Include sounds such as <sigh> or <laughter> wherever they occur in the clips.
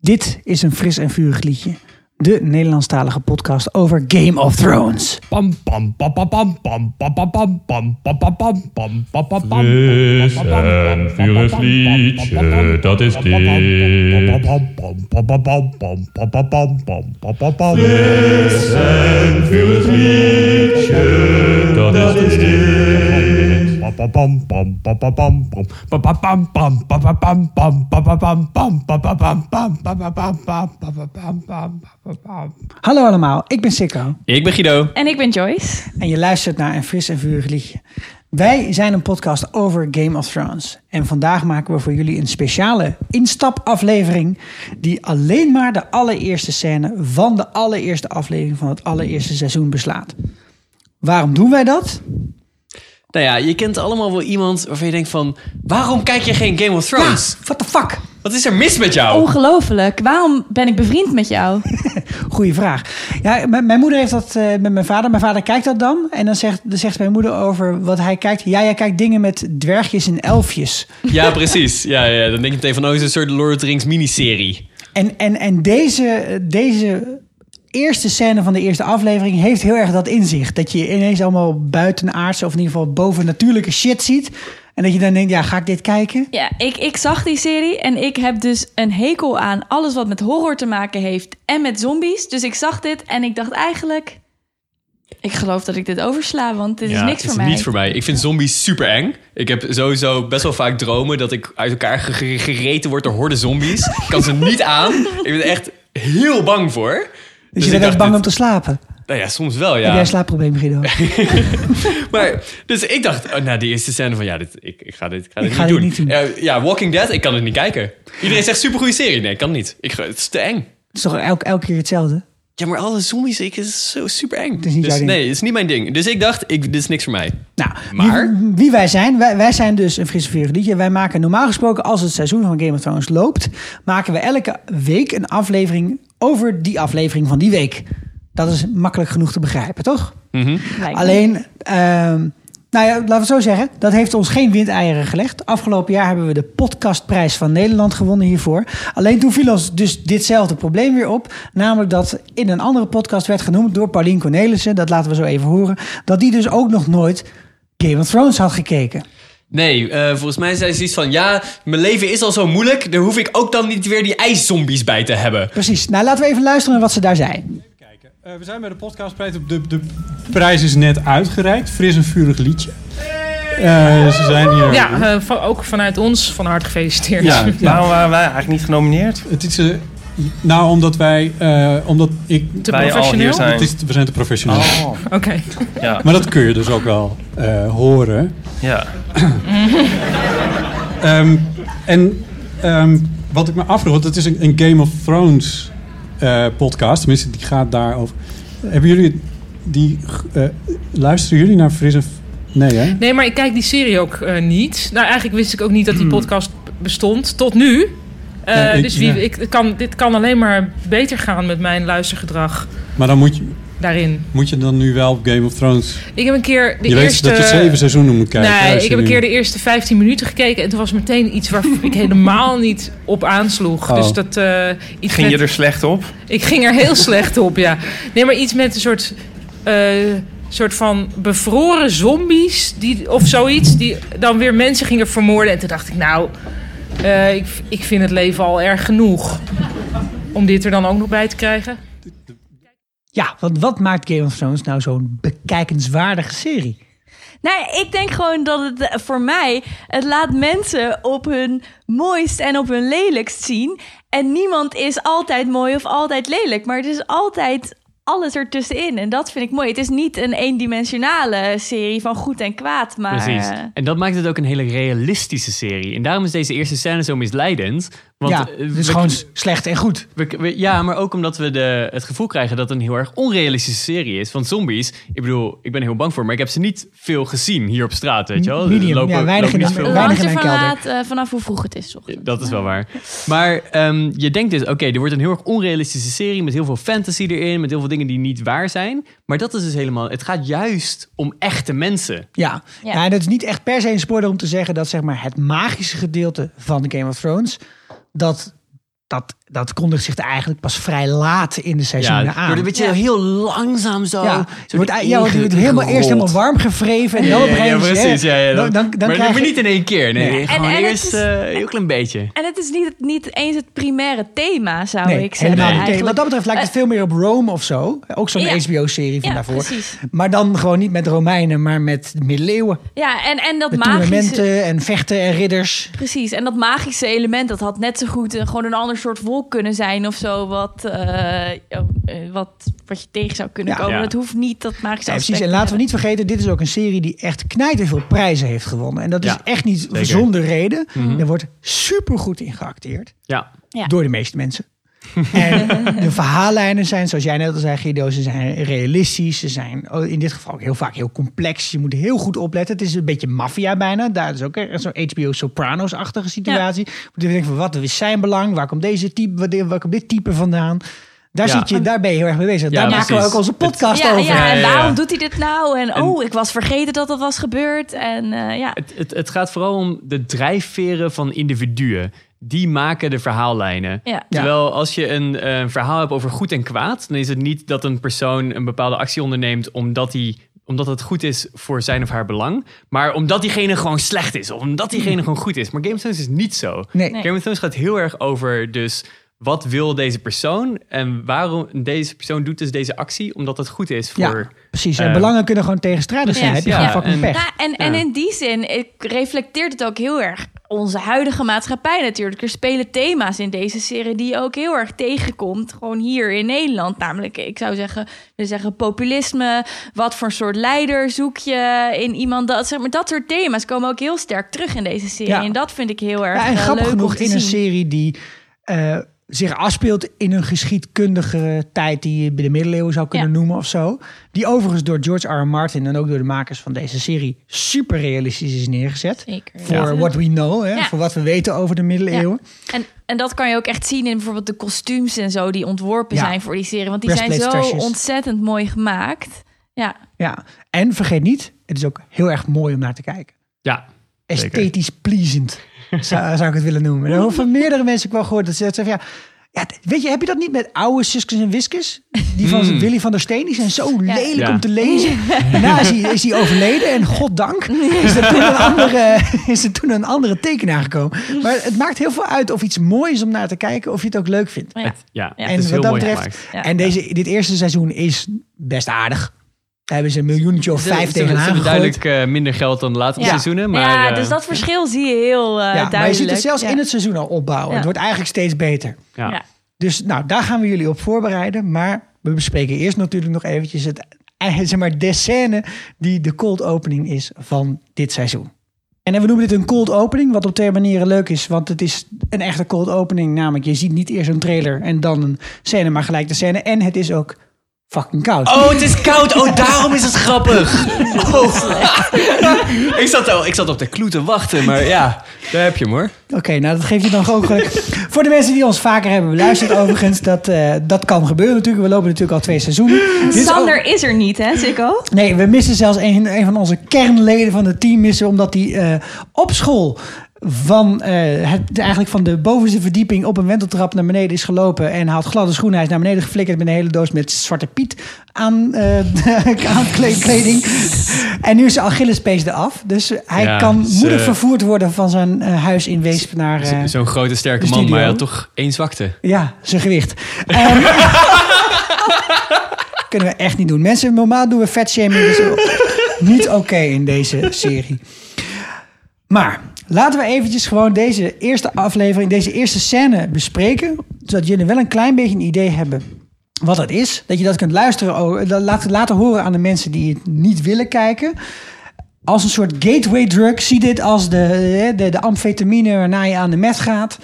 Dit is een fris en vurig liedje. De Nederlandstalige podcast over Game of Thrones. Pam pam pam pam pam pam pam pam pam pam pam pam pam pam pam pam pam Fris en vurig liedje, dat is dit. Fris en vurig liedje, dat is dit. Hallo allemaal, ik ben Sikko Ik ben Guido. En ik ben Joyce. en je luistert naar een fris en vurig liedje. Wij zijn een podcast over Game of Thrones. En vandaag maken we voor jullie een speciale instapaflevering... die alleen maar de allereerste scène van de allereerste aflevering van het allereerste seizoen beslaat. Waarom doen wij dat? Nou ja, je kent allemaal wel iemand waarvan je denkt van... waarom kijk je geen Game of Thrones? What the fuck? Wat is er mis met jou? Oh. Ongelooflijk. Waarom ben ik bevriend met jou? Goeie vraag. Ja, m- mijn moeder heeft dat eh, met mijn vader. Mijn vader kijkt dat dan. En dan zegt, dan zegt mijn moeder over wat hij kijkt. Ja, jij kijkt dingen met dwergjes en elfjes. <laughs> Ja, precies. Ja, ja, dan denk je meteen van... oh, is een soort Lord of the Rings miniserie. En, en, en deze, deze eerste scène van de eerste aflevering heeft heel erg dat inzicht. Dat je ineens allemaal buitenaardse of in ieder geval bovennatuurlijke shit ziet. En dat je dan denkt, ja, ga ik dit kijken? <laughs> Ja, ik, ik zag die serie en ik heb dus een hekel aan alles wat met horror te maken heeft en met zombies. Dus ik zag dit en ik dacht eigenlijk, ik geloof dat ik dit oversla, want dit is niks voor is mij. niet voor mij. Ik vind zombies super eng. Ik heb sowieso best wel vaak dromen... dat ik uit elkaar ge- ge- gereten word door horden zombies. Ik kan ze niet aan. Ik ben er echt heel bang voor. Dus, ik je bent dacht echt bang dit- om te slapen. Nou ja, soms wel, ja. Heb jij een slaapprobleem, <laughs> Guido? Maar, dus ik dacht, oh, na de eerste scène van ja, dit, ik, ik ga dit, ik ga dit ga niet dit doen. niet Eh, ja, Walking Dead, ik kan het niet kijken. Iedereen zegt supergoeie serie. Nee, ik kan niet. Ik, ga- het is te eng. Het is toch elke, elke keer hetzelfde? Ja, maar alle zombies, ik het is zo super eng. is niet dus, jouw ding. Nee, het is niet mijn ding. Dus ik dacht, ik, dit is niks voor mij. Nou, Maar- wie, wie wij zijn, wij, wij zijn dus een frisse vurig liedje. Wij maken normaal gesproken, als het seizoen van Game of Thrones loopt, maken we elke week een aflevering over die aflevering van die week. Dat is makkelijk genoeg te begrijpen, toch? Lijkt me. Alleen, ehm, nou ja, laten we het zo zeggen, dat heeft ons geen windeieren gelegd. Afgelopen jaar hebben we de podcastprijs van Nederland gewonnen hiervoor. Alleen toen viel ons dus ditzelfde probleem weer op. Namelijk dat in een andere podcast werd genoemd door Paulien Cornelissen, dat laten we zo even horen, dat die dus ook nog nooit Game of Thrones had gekeken. Nee, eh, volgens mij zei ze iets van ja, mijn leven is al zo moeilijk. Daar hoef ik ook dan niet weer die ijszombies bij te hebben. Precies, nou laten we even luisteren naar wat ze daar zei. kijken. Eh, we zijn bij de podcastprijs. De, de prijs is net uitgereikt. Fris en vurig liedje. Eh, ze zijn hier. Ja, eh, va- ook vanuit ons van harte gefeliciteerd. <laughs> Ja, ja. Waarom waren wij eigenlijk niet genomineerd? Het is, eh, nou, omdat wij, eh, omdat ik, Te Wij al professioneel. hier zijn. Oh. het is, we zijn te professioneel. Oké. Ja, Maar dat kun je dus ook wel eh, horen. ja. Ehm, en ehm, wat ik me afvroeg, want het is een, een Game of Thrones eh, podcast. Tenminste, die gaat daarover. Hebben jullie die? eh, luisteren jullie naar Fris en? V- Nee, hè? Nee, maar ik kijk die serie ook eh, niet. Nou, eigenlijk wist ik ook niet dat die podcast b- bestond. Tot nu. Eh, Hmm. Ja, ik- dus wie, ja. ik, het kan, dit kan alleen maar beter gaan met mijn luistergedrag Maar dan moet je, daarin. moet je dan nu wel Game of Thrones Ik heb een keer de je eerste... weet dat je zeven seizoenen moet kijken. Nee, Luister ik heb een nu. keer de eerste 15 minuten gekeken en toen was meteen <laughs> iets waar ik helemaal niet op aansloeg. Oh. Dus dat eh, iets Ging met- je er slecht op? Ik ging er heel slecht op, ja. Nee, maar iets met een soort, eh, soort van bevroren zombies die, of zoiets. Die dan weer mensen gingen vermoorden. En toen dacht ik, nou, eh, ik, ik vind het leven al erg genoeg. Om dit er dan ook nog bij te krijgen. Ja, want wat maakt Game of Thrones nou zo'n bekijkenswaardige serie? Nou, ik denk gewoon dat het eh, voor mij, het laat mensen op hun mooist en op hun lelijkst zien. En niemand is altijd mooi of altijd lelijk, maar het is altijd alles ertussenin. En dat vind ik mooi. Het is niet een eendimensionale serie van goed en kwaad, maar... Precies. eh, En dat maakt het ook een hele realistische serie. En daarom is deze eerste scène zo misleidend. Want ja, eh, het dus we- is gewoon s- slecht en goed. we- we- ja, maar ook omdat we de, het gevoel krijgen dat het een heel erg onrealistische serie is. Want zombies, ik bedoel, ik ben er heel bang voor, maar ik heb ze niet veel gezien hier op straat, weet je wel? Er Medium, ja, weinig lopen in niet de- veel- weinig Hangt in er een kelder. vanaf, eh, vanaf hoe vroeg het is. 's ochtends. Dat is wel waar. Maar ehm, je denkt dus, oké, er wordt een heel erg onrealistische serie met heel veel fantasy erin, met heel veel dingen die niet waar zijn. Maar dat is dus helemaal, het gaat juist om echte mensen. Ja. Ja. Ja. en dat is niet echt per se een spoiler om te zeggen dat zeg maar, het magische gedeelte van Game of Thrones, dat dat, dat kondigt zich er eigenlijk pas vrij laat in de seizoenen Ja, aan. door een beetje heel langzaam zo. Ja, zo je wordt, die ei- ja, want je wordt helemaal ingerold. eerst helemaal warm gevreven en dan Ja, op een ja, gegeven moment, precies. Ja, ja, dan, dat- dan, dan maar, krijg maar je- niet in één keer. Nee, Nee. nee, gewoon En- en het eerst is- eh, een heel klein beetje. En het is niet, niet eens het primaire thema, zou Nee, Oh, ik zeggen. helemaal niet. Nee, eigenlijk. Wat dat betreft lijkt het veel meer op Rome of zo. Ook zo'n Ja. HBO-serie van Ja, daarvoor. precies. Maar dan gewoon niet met Romeinen, maar met middeleeuwen. Ja, en, en dat Met magische... tournamenten en vechten en ridders. Precies, en dat magische element, dat had net zo goed een, gewoon een ander soort wolk kunnen zijn of zo, wat, eh, oh, eh, wat, wat je tegen zou kunnen Ja. komen. Ja. Dat hoeft niet, dat magische Ja, precies. aspect En laten te we hebben. niet vergeten, dit is ook een serie die echt knijterveel prijzen heeft gewonnen. En dat is Ja, Mhm. echt niet zonder reden. Er wordt supergoed in geacteerd. Ja. Ja. Door de meeste mensen. <laughs> en de verhaallijnen zijn, zoals jij net al zei, Guido, ze zijn realistisch. Ze zijn oh, in dit geval ook heel vaak heel complex. Je moet heel goed opletten. Het is een beetje maffia bijna. Daar is ook echt zo'n HBO Sopranos-achtige situatie. Moet je denken van, wat is zijn belang? Waar komt, deze type, waar- waar komt dit type vandaan? Daar, Ja. zit je, daar ben je heel erg mee bezig. Ja, daar maken we precies. ook onze podcast ja, over. ja, Ja, ja, en ja. waarom doet hij dit nou? En, oh, ik was vergeten dat dat was gebeurd. En eh, ja, Het, het, het gaat vooral om de drijfveren van individuen. Die maken de verhaallijnen. Ja. Terwijl als je een, eh, verhaal hebt over goed en kwaad, dan is het niet dat een persoon een bepaalde actie onderneemt omdat hij omdat het goed is voor zijn of haar belang. Maar omdat diegene gewoon slecht is. Of omdat Mm. diegene gewoon goed is. Maar Game of Thrones is niet zo. Nee. Game of Thrones gaat heel erg over dus... wat wil deze persoon? En waarom deze persoon doet dus deze actie? Omdat het goed is voor... Ja, precies. En eh, belangen kunnen gewoon tegenstrijdig zijn. precies, Heb je ja. gewoon fucking En- pech. Nou, en, en in die zin ik, reflecteert het ook heel erg onze huidige maatschappij natuurlijk. Er spelen thema's in deze serie die je ook heel erg tegenkomt. Gewoon hier in Nederland. Namelijk, ik zou zeggen, we zeggen populisme. Wat voor soort leider zoek je in iemand? Dat, zeg maar, dat soort thema's komen ook heel sterk terug in deze serie. Ja. En dat vind ik heel erg Ja, ja, en grappig leuk genoeg om te in een zien. serie die eh, zich afspeelt in een geschiedkundige tijd die je bij de middeleeuwen zou kunnen Ja. noemen of zo. Die overigens door George R. R. Martin en ook door de makers van deze serie super realistisch is neergezet. Zeker, Voor ja. what we know, hè, Ja. voor wat we weten over de middeleeuwen. En, en dat kan je ook echt zien in bijvoorbeeld de kostuums en zo die ontworpen Ja. zijn voor die serie. Want die zijn zo Breastplate stretches. ontzettend mooi gemaakt. Ja, Ja. En vergeet niet, het is ook heel erg mooi om naar te kijken. Ja. Esthetisch pleasend, zou, zou ik het willen noemen. En van meerdere mensen heb ik wel gehoord dat ze dat zeggen. van, Ja, ja, t- weet je, heb je dat niet met oude Suskes en Wiskes? Die van Willy van der Steen, die zijn zo lelijk Hmm. Ja. om te <laughs> lezen. Daarna is hij, is hij overleden en goddank is er, toen een andere, <laughs> is er toen een andere tekenaar gekomen. Maar het maakt heel veel uit of iets mooi is om naar te kijken, of je het ook leuk vindt. ja. Het- ja. Ja. het is heel mooi gemaakt. Ja. en deze, dit eerste seizoen is best aardig. Daar hebben ze een miljoentje of vijf Ze- ze- ze tegenaan hebben gegooid. duidelijk eh, minder geld dan de laatste Ja. seizoenen. Maar, ja, eh, dus dat verschil zie je heel eh, ja, duidelijk. maar je ziet het zelfs Ja. in het seizoen al opbouwen. Ja. Het wordt eigenlijk steeds beter. ja. Ja. Dus nou, daar gaan we jullie op voorbereiden. Maar we bespreken eerst natuurlijk nog eventjes het, eh, zeg maar, de scène die de cold opening is van dit seizoen. En eh, we noemen dit een cold opening, wat op twee manieren leuk is. Want het is een echte cold opening. Namelijk, je ziet niet eerst een trailer en dan een scène, maar gelijk de scène. En het is ook fucking koud. Oh, het is koud. Oh, daarom is het grappig. Oh. <laughs> Ik zat, al, ik zat op de kloe te wachten, maar ja, daar heb je hem hoor. Oké, nou dat geeft je dan gewoon geluk. Voor de mensen die ons vaker hebben beluisterd overigens, dat, eh, dat kan gebeuren natuurlijk. We lopen natuurlijk al twee seizoenen. Dit is ook- Sander is er niet, hè, Sikko? Nee, we missen zelfs een, een van onze kernleden van het team missen, omdat hij eh, op school van, eh, het, eigenlijk van de bovenste verdieping op een wenteltrap naar beneden is gelopen en had gladde schoenen. Hij is naar beneden geflikkerd met een hele doos met zwarte piet aan, eh, <laughs> aan kle- kleding. En nu is zijn Achillespees eraf. Dus hij Ja, kan ze- moeilijk vervoerd worden van zijn eh, huis in Weesp naar... eh, Zo- Zo'n grote sterke de man, maar hij had studio. toch één zwakte. ja, zijn gewicht. Ehm, <laughs> kunnen we echt niet doen. Mensen, normaal doen we fatshaming. Dus niet oké in deze serie. Maar laten we eventjes gewoon deze eerste aflevering, deze eerste scène bespreken. Zodat jullie wel een klein beetje een idee hebben wat dat is. Dat je dat kunt luisteren, oh, dat laten, laten horen aan de mensen die het niet willen kijken. Als een soort gateway drug. Zie dit als de, eh, de, de amfetamine waarna je aan de meth gaat.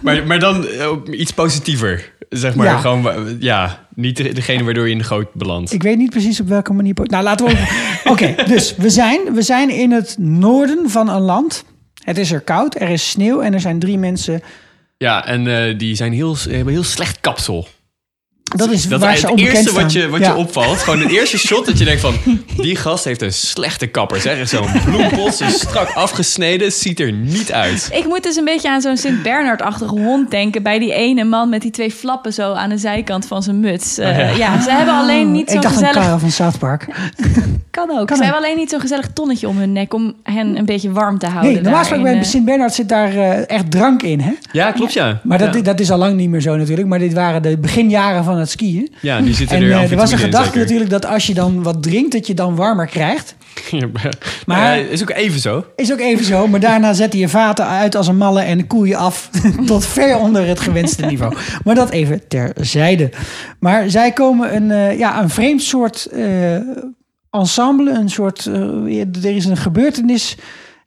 Maar, maar dan eh, iets positiever, zeg maar. Ja. Gewoon, eh, ja, niet de- degene waardoor je in de goot belandt. Ik weet niet precies op welke manier. po- Nou, laten we. <laughs> Oké, dus we zijn, we zijn in het noorden van een land. Het is er koud, er is sneeuw en er zijn drie mensen. Ja, en eh, die zijn heel, s- hebben heel slecht kapsel. Dat is Dat waar is ze het onbekend eerste staan. wat je, wat Ja. je opvalt. Gewoon het <laughs> eerste shot dat je denkt van... Die gast heeft een slechte kapper. Zeg eens zo'n bloempot, is strak afgesneden. Ziet er niet uit. Ik moet dus een beetje aan zo'n Sint Bernard-achtige hond denken. Bij die ene man met die twee flappen zo aan de zijkant van zijn muts. Eh, ja. ze hebben alleen niet <laughs> Ik zo'n dacht aan gezellig. Nou, Karel van South Park. Kan ook. Kan ze ook. hebben alleen niet zo'n gezellig tonnetje om hun nek om hen een beetje warm te houden. Nee, normaal daar gesproken in, bij eh, Sint Bernard zit daar eh, echt drank in, hè? Ja, klopt ja. Maar dat, ja. dat is al lang niet meer zo natuurlijk. Maar dit waren de beginjaren van het skiën. Ja, nu zitten En er eh, amfetamine er was een in, gedachte zeker. natuurlijk dat als je dan wat drinkt, dat je dan warmer krijgt. <laughs> Maar- Maar is ook even zo. Is ook even zo, maar daarna zet hij je vaten uit als een malle en de koeien af <laughs> tot ver onder het gewenste niveau. Maar dat even terzijde. Maar zij komen een, eh, ja, een vreemd soort eh, ensemble, een soort, eh, er is een gebeurtenis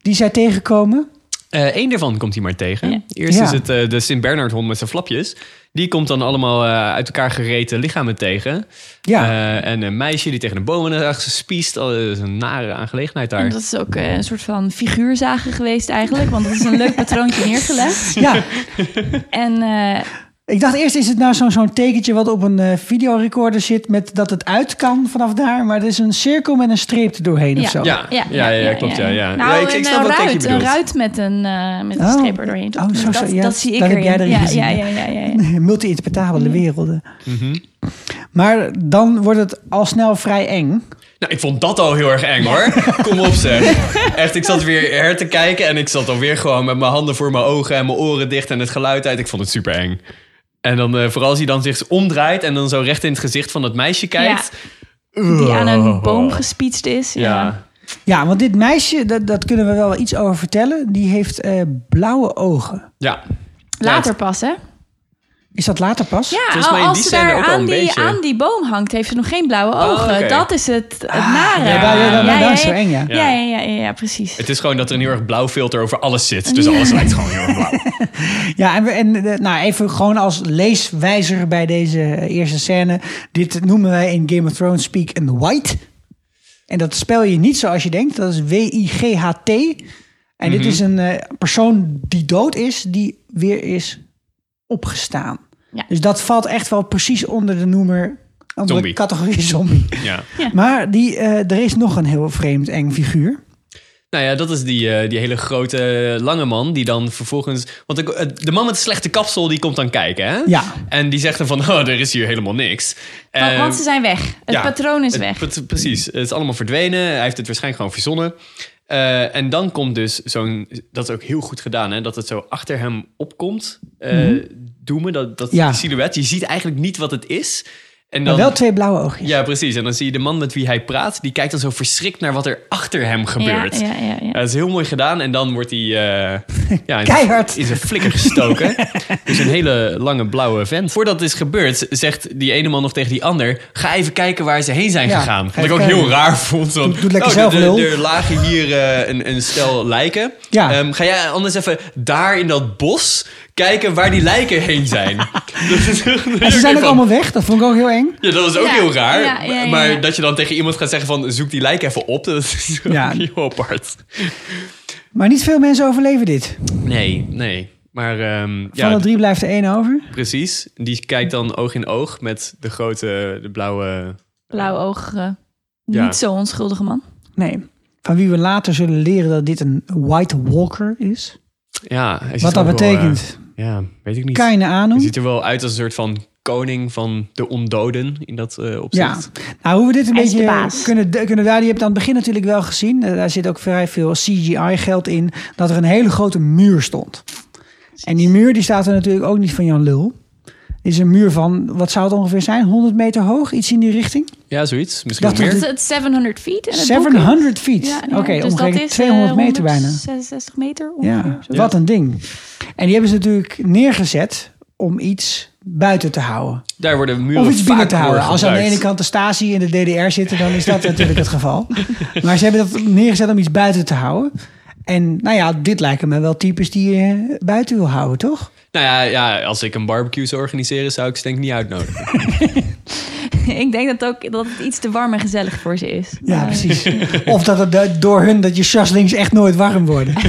die zij tegenkomen. Eén Eh, daarvan komt hij maar tegen. Eerst Ja. is het eh, de Sint Bernard hond met zijn flapjes. Die komt dan allemaal eh, uit elkaar gereten lichamen tegen. Ja, Eh, en een meisje die tegen een boom in de rug spiest. Oh, Dat is een nare aangelegenheid daar. Dat is ook eh, een soort van figuurzagen geweest eigenlijk. Want dat is een leuk patroontje <laughs> neergelegd. ja. En eh, ik dacht eerst is het nou zo'n zo'n tekentje wat op een eh, videorecorder zit met dat het uit kan vanaf daar. Maar het is een cirkel met een streep er doorheen of Ja. dus zo. Ja, ja, ja, klopt, ja, ja. Nou, Ja, ik- ik een, snap eh, wat je ruit, een bedoelt. ruit met een, eh met een Oh. streep er doorheen. Oh, zo, zo, dat, ja, dat zie ik daar heb erin. jij erin ja, gezien, ja, hè? ja, ja, ja, ja. <laughs> Multi-interpretabele werelden. Maar dan wordt het al snel vrij eng. Nou, ik vond dat al heel erg eng hoor. Kom op zeg. Echt, ik zat weer her te kijken en ik zat alweer gewoon met mijn handen voor mijn ogen en mijn oren dicht en het geluid uit. Ik vond het super eng. En dan eh, vooral als hij dan zich omdraait en dan zo recht in het gezicht van dat meisje kijkt. Die aan een boom gespietst is. Ja. Oh. Ja. Ja, want dit meisje, dat, dat kunnen we wel iets over vertellen. Die heeft eh, blauwe ogen. Ja. Later pas, hè? Is dat later pas? Ja, Volgens mij in als die ze scène daar ook al aan een die, beetje. aan die boom hangt, heeft ze nog geen blauwe Oh, ogen. oké. Dat is het, het nare. Ah. ja, ja, daar- daar- daar is ja, zo eng, ja. ja, ja, ja, ja, ja, precies. Het is gewoon dat er een heel erg blauw filter over alles zit. Dus alles lijkt gewoon heel erg blauw. Ja, en, we, en eh, nou, even gewoon als leeswijzer bij deze eh, eerste scène. Dit noemen wij in Game of Thrones speak een white. En dat spel je niet zoals je denkt. Dat is W-I-G-H-T. En dit is een eh, persoon die dood is, die weer is opgestaan. Ja. Dus dat valt echt wel precies onder de noemer... Onder de Zombie. categorie <laughs> zombie. Ja. Maar die, eh, er is nog een heel vreemd eng figuur. Nou ja, dat is die, eh, die hele grote eh, lange man die dan vervolgens... Want ik- eh, de man met de slechte kapsel die komt dan kijken, hè? Ja. En die zegt dan van, <laughs> oh, er is hier helemaal niks. Want, Eh, want ze zijn weg. Het ja, patroon is het- weg. pre- precies, het is allemaal verdwenen. Hij heeft het waarschijnlijk gewoon verzonnen. Eh, en dan komt dus zo'n... Dat is ook heel goed gedaan, hè? Dat het zo achter hem opkomt. eh Doemen, dat, dat Mhm. Ja. die silhouet. Je ziet eigenlijk niet wat het is. En Maar dan, wel twee blauwe oogjes. Ja, precies. En dan zie je de man met wie hij praat... die kijkt dan zo verschrikt naar wat er achter hem Ja, gebeurt. Eh, ja, ja, Ja, ja. dat is heel mooi gedaan. En dan wordt hij eh, <laughs> ja, in- Keihard. in zijn flikker <laughs> gestoken. dus een hele lange blauwe vent. Voordat het is gebeurd, zegt die ene man nog tegen die ander... ga even kijken waar ze heen zijn Ja, gegaan. ga Wat ik even ook kijken. heel raar vond. want- Doe- doe lekker oh, zelf, er- lul. Er er lagen hier eh, een, een stel lijken. Ja. Ehm, ga jij anders even daar in dat bos kijken waar die lijken heen <laughs> zijn? Dat is- En ze zijn ook allemaal weg. Dat vond ik ook heel eng. Ja, dat was ook Ja, heel raar. ja, ja, ja. Maar dat je dan tegen iemand gaat zeggen van... zoek die lijken even op, dat is ook Ja. heel apart. Maar niet veel mensen overleven dit. Nee, nee. Maar ehm, Van ja, de drie blijft er één over. precies. Die kijkt dan oog in oog met de grote, de blauwe... Blauw oog. eh, Ja. Niet zo onschuldige man. Nee. Van wie we later zullen leren dat dit een White Walker is. Ja, hij ziet Wat dat er ook wel, betekent? eh, ja, weet ik niet. Keine Hij Ahnung. ziet er wel uit als een soort van koning van de ondoden in dat eh, Ja, opzicht. nou hoe we dit een Hij is de beetje baas. kunnen, kunnen duiden. Je hebt aan het begin natuurlijk wel gezien, eh, daar zit ook vrij veel CGI geld in, dat er een hele grote muur stond. En die muur die staat er natuurlijk ook niet van Jan Lul. Dit is een muur van, wat zou het ongeveer zijn, 100 meter hoog? Iets in die richting? Ja, zoiets. Misschien Dat wel Het meer. is het 700 feet. En het boek is- 700 feet. Oké, dus omgerekend dat is, eh, 200 meter bijna. 166 meter Ja, ongeveer. zo. wat een ding. En die hebben ze natuurlijk neergezet om iets buiten te houden. Daar worden muren Of iets binnen vaak te houden. voor Als ze aan de ene gebruikt. kant de Stasi in de DDR zitten, dan is <laughs> dat natuurlijk het geval. Maar ze hebben dat neergezet om iets buiten te houden. En nou ja, dit lijken me wel types die je buiten wil houden, toch? Nou ja, ja, als ik een barbecue zou organiseren, zou ik ze denk ik niet <laughs> uitnodigen. <laughs> Ik denk dat, ook, dat het iets te warm en gezellig voor ze is. Ja, Maar- precies. Of dat het do- door hun dat je sjaslings echt nooit warm worden. Of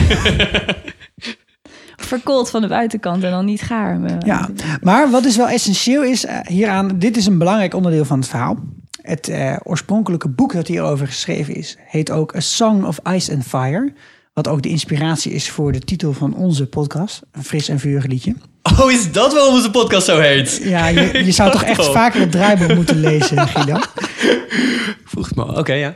verkoold van de buitenkant en dan niet gaar. Maar... Ja, maar wat dus wel essentieel is eh, hieraan, dit is een belangrijk onderdeel van het verhaal. Het eh, oorspronkelijke boek dat hierover geschreven is, heet ook A Song of Ice and Fire. Wat ook de inspiratie is voor de titel van onze podcast, Een fris en vurig liedje. Oh, is dat waarom onze podcast zo heet? Ja, je, je zou toch echt al. vaker het draaiboek moeten lezen, Guido. Vroeg het me. al. Oké, ja.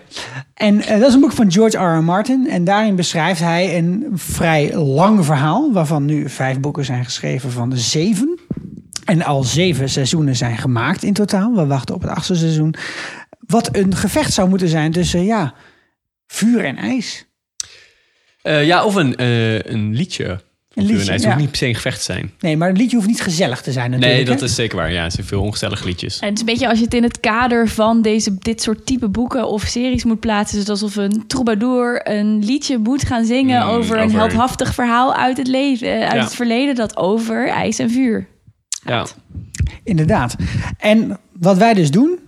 En eh, dat is een boek van George R. R. Martin. En daarin beschrijft hij een vrij lang verhaal, waarvan nu vijf boeken zijn geschreven van de zeven. En al zeven seizoenen zijn gemaakt in totaal. We wachten op het achtste seizoen. Wat een gevecht zou moeten zijn tussen ja, vuur en ijs. Eh, ja, of een, eh, een liedje. Een Natuurlijk, liedje, ja. Het hoeft niet per se een gevecht te zijn. Nee, maar een liedje hoeft niet gezellig te zijn natuurlijk. Nee, dat hè? is zeker waar. Ja, er zijn veel ongezellige liedjes. En het is een beetje als je het in het kader van deze, dit soort type boeken of series moet plaatsen. Is het alsof een troubadour een liedje moet gaan zingen Mm, over, een over- heldhaftig verhaal uit het leven, eh, uit Ja. het verleden dat over ijs en vuur. Ja. Inderdaad. En wat wij dus doen,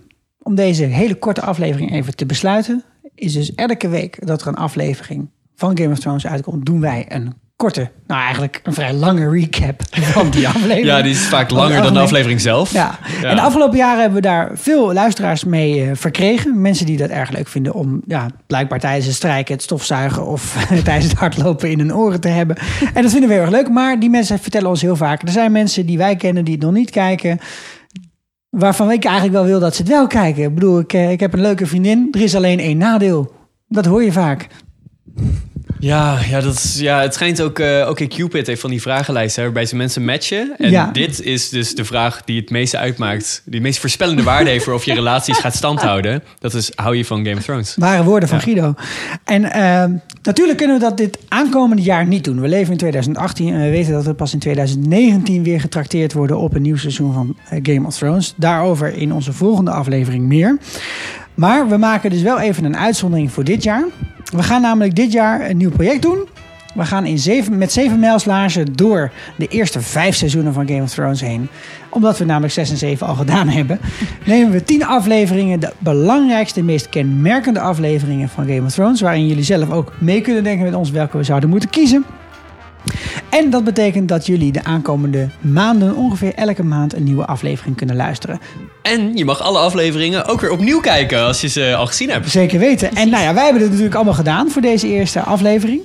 om deze hele korte aflevering even te besluiten, is dus elke week dat er een aflevering van Game of Thrones uitkomt, doen wij een korte, nou eigenlijk een vrij lange recap van die aflevering. <laughs> ja, die is vaak Want langer dan de algemeen- aflevering zelf. Oh, Ja. Ja. en de afgelopen jaren hebben we daar veel luisteraars mee eh, verkregen. Mensen die dat erg leuk vinden om ja, blijkbaar tijdens het strijken, het stofzuigen of <laughs> tijdens het hardlopen in hun oren te <laughs> hebben. En dat vinden we heel erg leuk, maar die mensen vertellen ons heel vaak. Er zijn mensen die wij kennen die het nog niet kijken, waarvan ik eigenlijk wel wil dat ze het wel kijken. Ik bedoel, ik, eh, ik heb een leuke vriendin, er is alleen één nadeel. Dat hoor je vaak. Ja, ja, dat is, ja het schijnt ook... eh Oké, Cupid heeft van die vragenlijsten hè, waarbij ze mensen matchen. En Ja. dit is dus de vraag die het meeste uitmaakt. Die het meest voorspellende waarde heeft voor of je relaties gaat standhouden. Dat is, hou je van Game of Thrones? Ware woorden van Guido. En ehm, natuurlijk kunnen we dat dit aankomende jaar niet doen. We leven in 2018 en we weten dat we pas in 2019 weer getrakteerd worden op een nieuw seizoen van eh, Game of Thrones. Daarover in onze volgende aflevering meer. Maar we maken dus wel even een uitzondering voor dit jaar. We gaan namelijk dit jaar een nieuw project doen. We gaan in zeven, met zeven mijlslaarzen door de eerste vijf seizoenen van Game of Thrones heen. Omdat we namelijk zes en zeven al gedaan hebben, nemen we tien afleveringen, de belangrijkste, meest kenmerkende afleveringen van Game of Thrones, waarin jullie zelf ook mee kunnen denken met ons welke we zouden moeten kiezen. En dat betekent dat jullie de aankomende maanden ongeveer elke maand een nieuwe aflevering kunnen luisteren. En je mag alle afleveringen ook weer opnieuw kijken als je ze al gezien hebt. Zeker weten. En nou ja, wij hebben het natuurlijk allemaal gedaan voor deze eerste aflevering.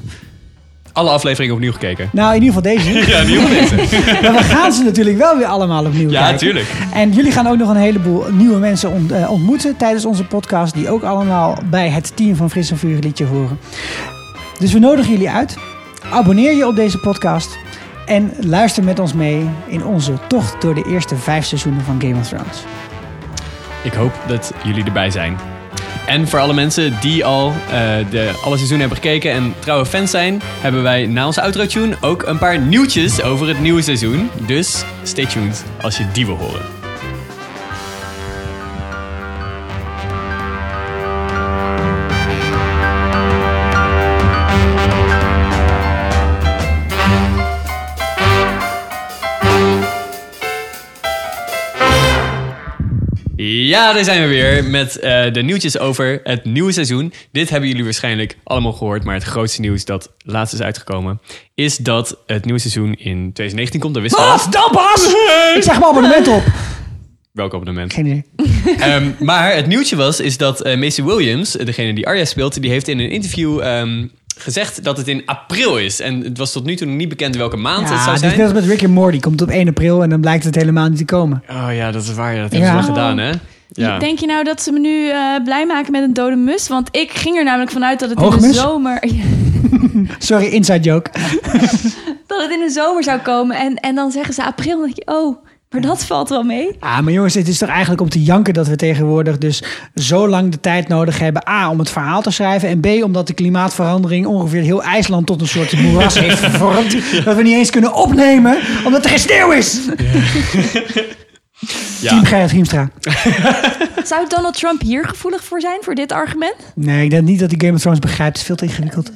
Alle afleveringen opnieuw gekeken. <laughs> Nou, in ieder geval deze. Ja, die Maar we gaan ze natuurlijk wel weer allemaal opnieuw Ja, kijken. tuurlijk. En jullie gaan ook nog een heleboel nieuwe mensen ont- eh, ontmoeten tijdens onze podcast. Die ook allemaal bij het team van Fris en Vuur liedje horen. Dus we nodigen jullie uit. Abonneer je op deze podcast. En luister met ons mee in onze tocht door de eerste vijf seizoenen van Game of Thrones. Ik hoop dat jullie erbij zijn. En voor alle mensen die al eh, de, alle seizoenen hebben gekeken en trouwe fans zijn, hebben wij na onze outro-tune ook een paar nieuwtjes over het nieuwe seizoen. Dus stay tuned als je die wil horen. Ja, daar zijn we weer met eh, de nieuwtjes over het nieuwe seizoen. Dit hebben jullie waarschijnlijk allemaal gehoord, maar het grootste nieuws dat laatst is uitgekomen, is dat het nieuwe seizoen in 2019 komt. Dat wisten we al. Bas, dan Bas! Ik zeg mijn abonnement op. Welk abonnement? Geen idee. Ehm, maar het nieuwtje was is dat eh Macy Williams, degene die Arya speelt, die heeft in een interview ehm, gezegd dat het in april is. En het was tot nu toe nog niet bekend welke maand het Ja, zou dit is zijn. net als met Rick en Morty. Komt op 1 april en dan blijkt het helemaal niet te komen. Oh ja, dat is waar. ja, Dat Ja. hebben ze wel gedaan, hè? Ja. Denk je nou dat ze me nu eh, blij maken met een dode mus? Want ik ging er namelijk vanuit dat het in de Hoogmus? zomer. <laughs> Sorry, inside joke. dat het in de zomer zou komen. En, en dan zeggen ze april. Dan denk je, oh, maar dat valt wel mee. Ah, maar jongens, het is toch eigenlijk om te janken dat we tegenwoordig dus zo lang de tijd nodig hebben. A, om het verhaal te schrijven. En B, omdat de klimaatverandering ongeveer heel IJsland tot een soort moeras heeft vervormd. Dat we niet eens kunnen opnemen, omdat er geen sneeuw is. Ja. Team Gerrit Hiemstra. Zou Donald Trump hier gevoelig voor zijn, voor dit argument? Nee, ik denk niet dat die Game of Thrones begrijpt. Het is veel te ingewikkeld.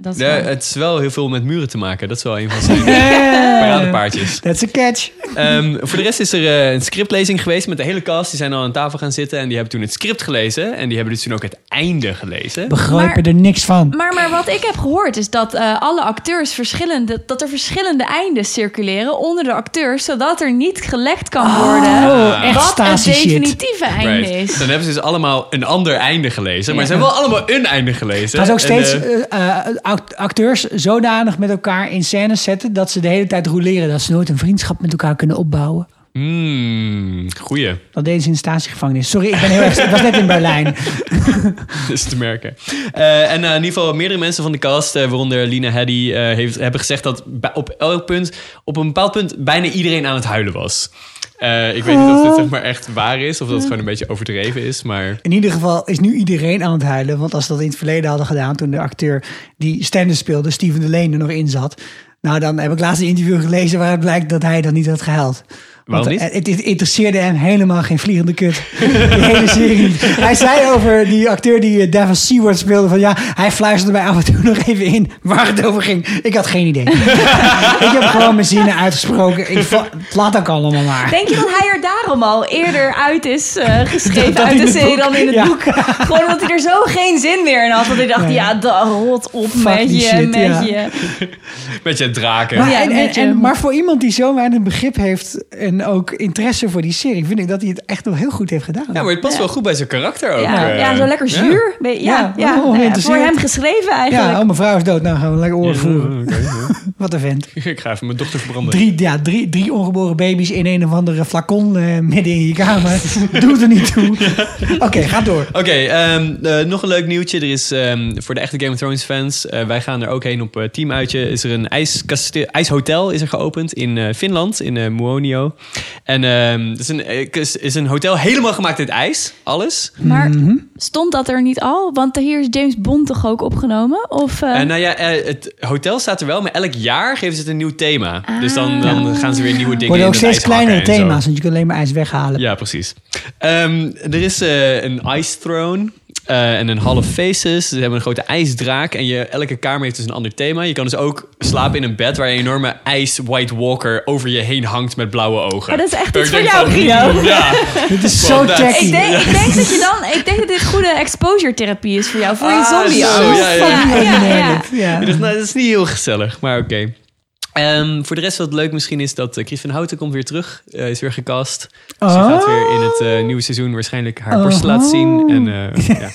Dat is Ja, eh, waar. het is wel heel veel met muren te maken. Dat is wel een van zijn paradepaardjes. That's a catch. Ehm, voor de rest is er eh, een scriptlezing geweest met de hele cast. Die zijn al aan tafel gaan zitten en die hebben toen het script gelezen. En die hebben dus toen ook het einde gelezen. Begrijpen Maar- er niks van. Maar, maar wat ik heb gehoord is dat eh, alle acteurs verschillende, dat er verschillende eindes circuleren onder de acteurs, zodat er niet gelegd kan worden Oh, echt wat het stasi shit. definitieve einde Right. is. Dan hebben ze dus allemaal een ander einde gelezen. Maar Ja. ze hebben wel allemaal een einde gelezen. Gaan ze ook En, steeds eh, eh, eh, act- acteurs zodanig met elkaar in scène zetten... dat ze de hele tijd roleren. Dat ze nooit een vriendschap met elkaar kunnen opbouwen. hmm, goeie. <laughs> Dat deden ze in statiegevangenis. Sorry, ik ben heel erg... Ik was net in Berlijn. is te merken. Eh, en eh, in ieder geval meerdere mensen van de cast, eh, waaronder Lina Heddy, eh, heeft, hebben gezegd dat bij- op elk punt, op een bepaald punt, bijna iedereen aan het huilen was. Eh, ik weet niet of dit zeg maar echt waar is, of dat het gewoon een beetje overdreven is, maar... In ieder geval is nu iedereen aan het huilen. Want als ze dat in het verleden hadden gedaan... toen de acteur die Stennis speelde, Steven de Leen, er nog in zat... nou, dan heb ik laatst een interview gelezen... waaruit blijkt dat hij dan niet had gehuild. Want Waarom niet? eh, Het, het interesseerde hem helemaal geen vliegende kut. De hele <laughs> serie. Hij zei over die acteur die eh, Davin Seward speelde... van ja, hij fluisterde mij af en toe <laughs> nog even in waar het over ging. Ik had geen <laughs> idee. ik heb gewoon mijn zinnen uitgesproken. Ik, va- laat ook allemaal maar. Denk je dat hij er daarom al eerder uit is eh, <laughs> geschreven dat uit in de het serie boek. dan in het Ja. boek? Gewoon omdat hij er zo geen zin meer in had. Dat hij dacht, ja, da, rot op met die je, shit, met ja. je. Met je draken. Maar, Ja, en, en, met je- en- maar voor iemand die zo weinig begrip heeft en ook interesse voor die serie, vind ik dat hij het echt wel heel goed heeft gedaan. Ja, maar het past wel goed bij zijn karakter ook. Ja, eh. ja, zo lekker zuur. Ja, ja, Ja, ja, nou ja, voor ongeïnteresseerd. hem geschreven eigenlijk. Ja, oh, mijn vrouw is dood. Nou, gaan we lekker oorlog voeren. Oké, ja. <laughs> Wat een vent. ik ga even mijn dochter verbranden. Drie, ja, drie, drie ongeboren baby's in een of andere flacon eh, midden in je kamer. <laughs> Doet er niet toe. Oké, ga door. Oké, ehm, eh, nog een leuk nieuwtje. Er is ehm, voor de echte Game of Thrones fans, eh, wij gaan er ook heen op eh, teamuitje. Is er een ijskaste- ijshotel is er geopend in eh, Finland, in eh, Muonio. En ehm, het is een, eh, is, is een hotel helemaal gemaakt uit ijs, alles. oh, Maar mhm. stond dat er niet al? Want hier is James Bond toch ook opgenomen? Of, eh, En nou ja, eh, het hotel staat er wel, maar elk jaar geven ze het een nieuw thema. Dus dan, dan gaan ze weer nieuwe dingen Worden in ook het steeds ijs hakken kleinere en zo. thema's, want je kunt alleen maar ijs weghalen. Ja, precies. Ehm, er is eh, een Ice Throne eh, en een Hall of Faces. Ze hebben een grote ijsdraak en je, elke kamer heeft dus een ander thema. Je kan dus ook slapen in een bed waar een enorme ijs White Walker over je heen hangt met blauwe ogen. Oh, dat is echt Dat iets ik voor denk jou, van, <laughs> Guido. Ja, Dit is zo dat- tacky. ik, denk, ik denk dat je dan, ik denk dat dit goede exposure therapie is voor jou, voor je Ah, zombie. zo, angst. ja, ja. ja, ja, ja. Onbenaderd, ja. Ik dacht, nou, dat is niet heel gezellig, maar oké. Ehm, voor de rest wat leuk misschien is dat eh, Chris van Houten komt weer terug. Eh, is weer gecast. Oh. Ze gaat weer in het eh, nieuwe seizoen waarschijnlijk haar borst laten zien. En eh, <laughs> ja,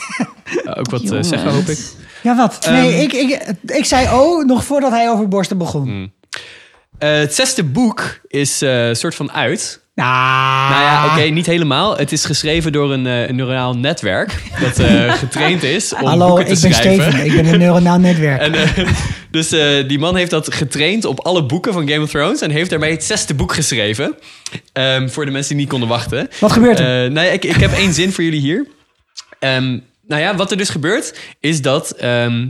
ook wat eh, zeggen hoop ik. Ja, wat? Nee, Ehm. Mm. ik, ik, ik zei oh nog voordat hij over borsten begon. Eh, het zesde boek is eh soort van uit. Nou, Nou ja, oké, niet helemaal. Het is geschreven door een, eh, een neuraal netwerk <laughs> dat eh, getraind is om Hallo, ik boeken te ben schrijven. Steven. Ik ben <laughs> een neuronaal netwerk. En, eh, <laughs> dus eh, die man heeft dat getraind op alle boeken van Game of Thrones en heeft daarmee het zesde boek geschreven. Ehm, voor de mensen die niet konden wachten. Wat gebeurt er? Eh, nou ja, ik, ik heb één zin voor jullie hier. Ehm, nou ja, wat er dus gebeurt is dat ehm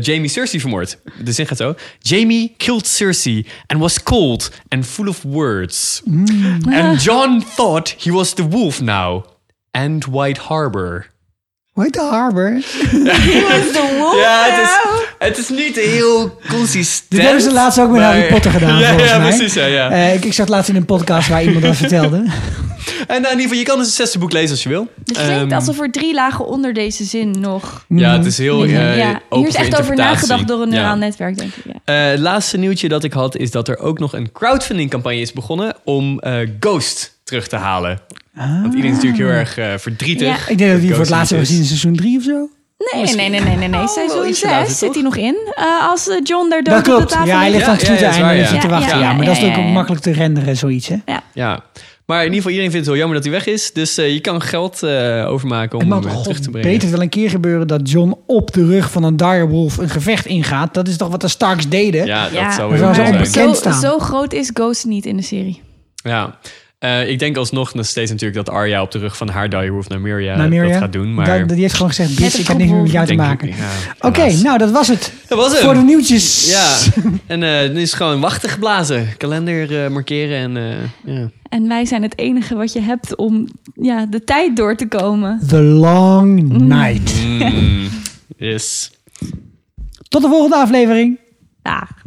Jamie Cersei vermoordt. De zin gaat zo. Jamie killed Cersei and was cold and full of words. Mm. And John thought he was the wolf now. And White Harbor. Hoe heet de harbor? <laughs> De wolf Ja, het nou. is, het is niet heel consistent. Dit hebben ze laatst ook met maar- Harry Potter gedaan, <laughs> ja, volgens ja, mij. precies. Ja, ja. Eh, ik, ik zat laatst in een podcast waar iemand dat <laughs> vertelde. en nou, in ieder geval, je kan dus het zesde boek lezen als je wil. Het klinkt Ehm, alsof er drie lagen onder deze zin nog. ja, het is heel eh Mhm. ja. open Hier is echt voor over interpretatie. nagedacht door een Ja. neuraal netwerk, denk ik. Ja. Eh, het laatste nieuwtje dat ik had is dat er ook nog een crowdfundingcampagne is begonnen om eh, Ghost terug te halen. Want iedereen is natuurlijk heel Ah. erg eh, verdrietig. Ja. Ik denk dat we die voor het Ghost laatst hebben niet gezien in seizoen 3 of zo. Nee, nee, nee, nee, nee, nee. Seizoen Oh, iets later, 6 zit toch? hij nog in. Eh, als eh, John daar dood Dat op de klopt. tafel Ja, hij ligt. ligt aan het Ja, ja, zoete dat is einde waar, met je ja. te Ja, wachten. ja, Ja, maar dat is ja, natuurlijk ja, ook ja. makkelijk te renderen, zoiets. Hè? Ja. Ja. Maar in ieder geval, iedereen vindt het wel jammer dat hij weg is. Dus eh, je kan geld eh, overmaken Het om mag hem eh, toch terug te god brengen. beter wel een keer gebeuren dat John op de rug van een direwolf een gevecht ingaat. Dat is toch wat de Starks deden? Ja, Ja. dat zou Dat heel zou goed zijn. zijn. bekend zo, staan. zo groot is Ghost niet in de serie. Ja. Eh, ik denk alsnog nog steeds natuurlijk dat Arya op de rug van haar Dire Wolf Nymeria, Nymeria? eh, dat gaat doen. Maar Dat- die heeft gewoon gezegd, bitch, een ik heb niks meer met jou te denk ik- maken. ja, Oké, helaas. nou, dat was <laughs> het. Dat was hem. Voor de nieuwtjes. Ja, en eh dan is het gewoon wachten geblazen. Kalender eh, markeren en eh, ja. En wij zijn het enige wat je hebt om ja, de tijd door te komen. The Long Night. Mm, <laughs> yes. Tot de volgende aflevering. Daag.